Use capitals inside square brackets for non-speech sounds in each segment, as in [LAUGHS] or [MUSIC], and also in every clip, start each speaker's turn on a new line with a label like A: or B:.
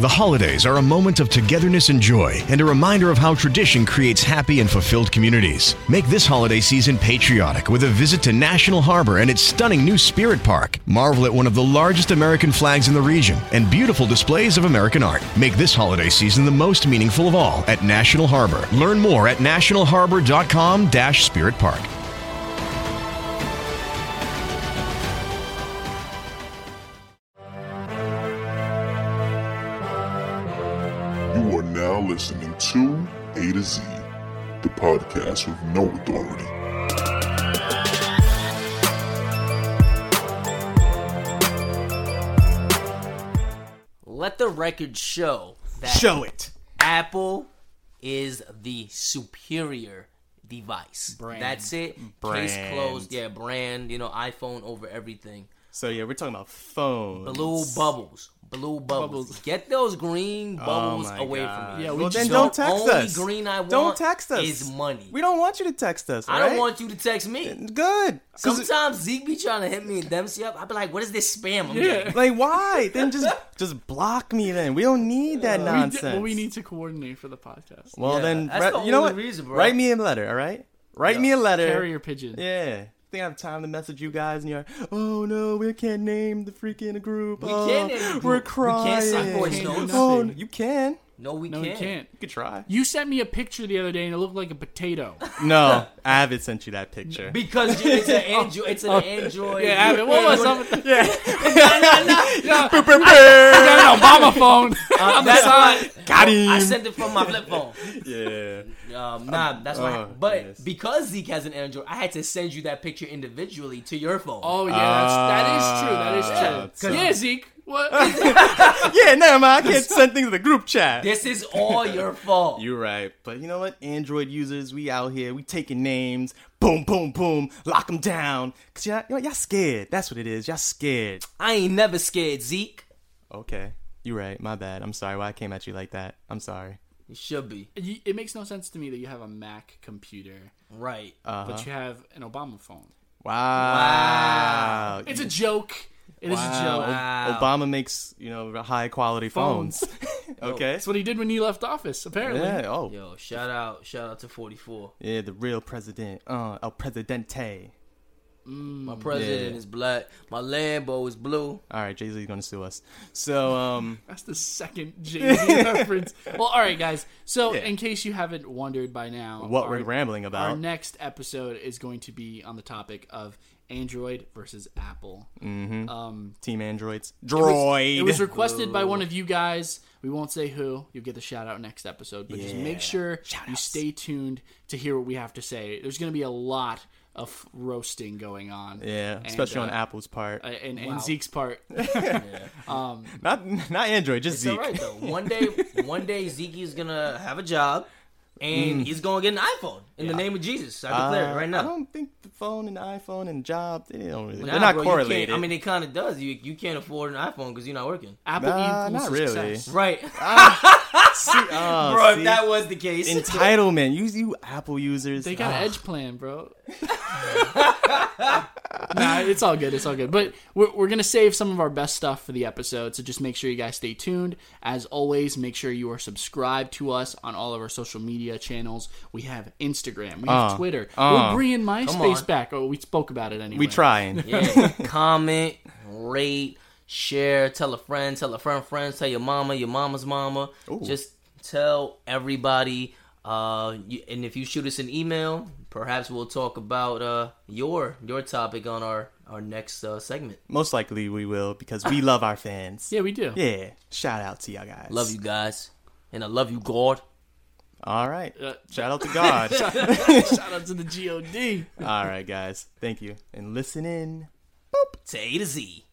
A: The holidays are a moment of togetherness and joy and a reminder of how tradition creates happy and fulfilled communities. Make this holiday season patriotic with a visit to National Harbor and its stunning new Spirit Park. Marvel at one of the largest American flags in the region and beautiful displays of American art. Make this holiday season the most meaningful of all at National Harbor. Learn more at nationalharbor.com-spirit park.
B: You are now listening to A to Z, the podcast with no authority.
C: Let the record show that
D: Show it.
C: Apple is the superior device.
D: Brand.
C: That's it. Case
D: Brand.
C: closed. Yeah, brand. You know, iPhone over everything.
D: So yeah, we're talking about phones.
C: Blue bubbles. Blue bubbles.
D: Bubbles. Oh
C: Get those green bubbles
D: my
C: away
D: God.
C: from me.
D: Yeah,
C: The
D: well, then
C: so
D: don't text
C: only
D: us.
C: green I
D: Don't
C: want
D: text us.
C: is money.
D: We don't want you to text us.
C: I don't
D: right?
C: want you to text me.
D: Good. 'Cause it-
C: Sometimes Zeke be trying to hit me and Dempsey up. I be like, "What is this spam?" I'm getting?
D: Like why? then just just block me. Then we don't need that
E: We d-
D: nonsense.
E: well, we need to coordinate for the podcast.
D: Well,
C: Yeah,
D: then
C: that's
D: write-
C: the
D: you know
C: only
D: what?
C: reason, bro.
D: Write me a letter. All right. Write me a letter.
E: Carrier pigeon.
D: Yeah. Think I have time to message you guys and you're, oh no, we can't name the freaking group. We
C: can't name the group. We
D: We're
C: can't
D: crying.
C: send voice
E: Can't do notes.
D: Oh,
E: nothing.
D: you can.
C: No, we
E: No,
C: can't.
E: you can't.
D: You could try.
E: You sent me a picture the other day and it looked like a potato.
C: [LAUGHS]
D: No, I haven't sent you that picture. [LAUGHS]
C: Because you- it's an Android. It's an Android.
E: yeah, Abbott, what was up? with-
D: Yeah.
E: I got an Obama [LAUGHS] phone on the
C: that's
E: side.
D: Got
C: I
D: him.
C: sent it from my flip phone.
D: Yeah.
C: Um, nah, that's why.
D: oh,
C: but
D: goodness.
C: because Zeke has an Android, I had to send you that picture individually to your phone.
E: Oh yeah, that's, that
D: Ah,
E: is true. That is true.
D: Yeah,
E: Yeah, Zeke. What?
D: [LAUGHS] Yeah, never mind. I can't send things to the group chat.
C: This is all your fault.
D: You're right. But you know what? Android users, we out here, we taking names. Boom, boom, boom. Lock them down. Because y'all, you know, y'all scared. That's what it is. Y'all scared.
C: I ain't never scared, Zeke.
D: Okay. You're right. My bad. I'm sorry why I came at you like that. I'm sorry.
C: You should be
E: You- it makes no sense to me that you have a Mac computer,
C: right.
D: Uh-huh.
E: but you have an Obama phone.
D: Wow.
E: It's a joke. It is a
D: Wow.
E: joke.
C: Wow.
D: Obama makes, you know, high quality phones. [LAUGHS] okay.
E: That's what he did when he left office. Apparently,
D: Yeah. Oh.
C: Yo, shout out, shout out to 44.
D: Yeah, the real president. Uh, El Presidente.
C: My president
D: Yeah.
C: is black. My Lambo is blue.
D: All right, Jay Z's gonna sue us. So, um,
E: [LAUGHS] that's the second
D: [LAUGHS]
E: Jay Z reference. Well, all right, guys. So, in case you haven't wondered by now,
D: what
E: our-
D: we're rambling
E: Our
D: about?
E: next episode is going to be on the topic of Android versus Apple.
D: Team androids.
E: It
D: Droid.
E: was requested by one of you guys. We won't say who. You'll get the shout out next episode. But just make sure you stay tuned to hear what we have to say. There's going to be a lot of roasting going on.
D: [LAUGHS] yeah,
E: And,
D: especially on
E: uh,
D: Apple's part.
E: uh, And, and Zeke's
D: [LAUGHS]
E: part.
D: not not Android, just
C: It's
D: Zeke.
C: all right though. One day, one day Zeke is gonna have a job, and he's gonna get an iPhone in the name of Jesus. I declare it
D: Uh,
C: right
D: I
C: now.
D: don't think the phone and iPhone and job they don't really,
C: Nah,
D: they're not
C: bro, you can't-
D: correlated.
C: I mean, it kind of does. You you can't afford an iPhone because you're not working.
E: Apple
D: Nah,
E: equals
D: not really.
E: success.
C: Right,
D: [LAUGHS] See- oh,
C: bro.
D: see?
C: If that was the case,
D: entitlement. You you Apple users.
E: They got
D: Ah.
E: an edge plan, bro. [LAUGHS] nah, it's all good. It's all good. But we're, we're going to save some of our best stuff for the episode. So just make sure you guys stay tuned. As always, make sure you are subscribed to us on all of our social media channels. We have Instagram, we have
D: Uh,
E: Twitter.
D: uh,
E: we're bringing MySpace
C: on.
E: back. Oh, we spoke about it anyway.
C: [LAUGHS]
D: We trying.
C: yeah,
D: [LAUGHS]
C: comment, rate, share, tell a friend, tell a friend, friends, tell your mama, your mama's mama. Just tell everybody. Uh, you, and if you shoot us an email, perhaps we'll talk about uh your your topic on our our next uh, segment.
D: Most likely we will because we love our fans.
E: Yeah, we do.
D: Yeah. Shout out to y'all guys.
C: Love you guys, and I love you, God.
D: All right.
E: Uh,
D: Shout out to God.
C: [LAUGHS]
E: Shout out to the GOD.
D: All right, guys. Thank you. And listen in.
C: To A to Z.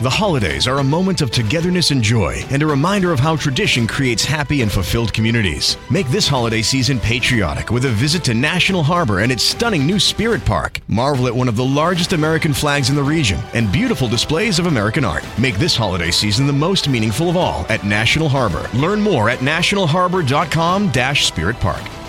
A: The holidays are a moment of togetherness and joy and a reminder of how tradition creates happy and fulfilled communities. Make this holiday season patriotic with a visit to National Harbor and its stunning new Spirit Park. Marvel at one of the largest American flags in the region and beautiful displays of American art. Make this holiday season the most meaningful of all at National Harbor. Learn more at nationalharbor.com-spiritpark.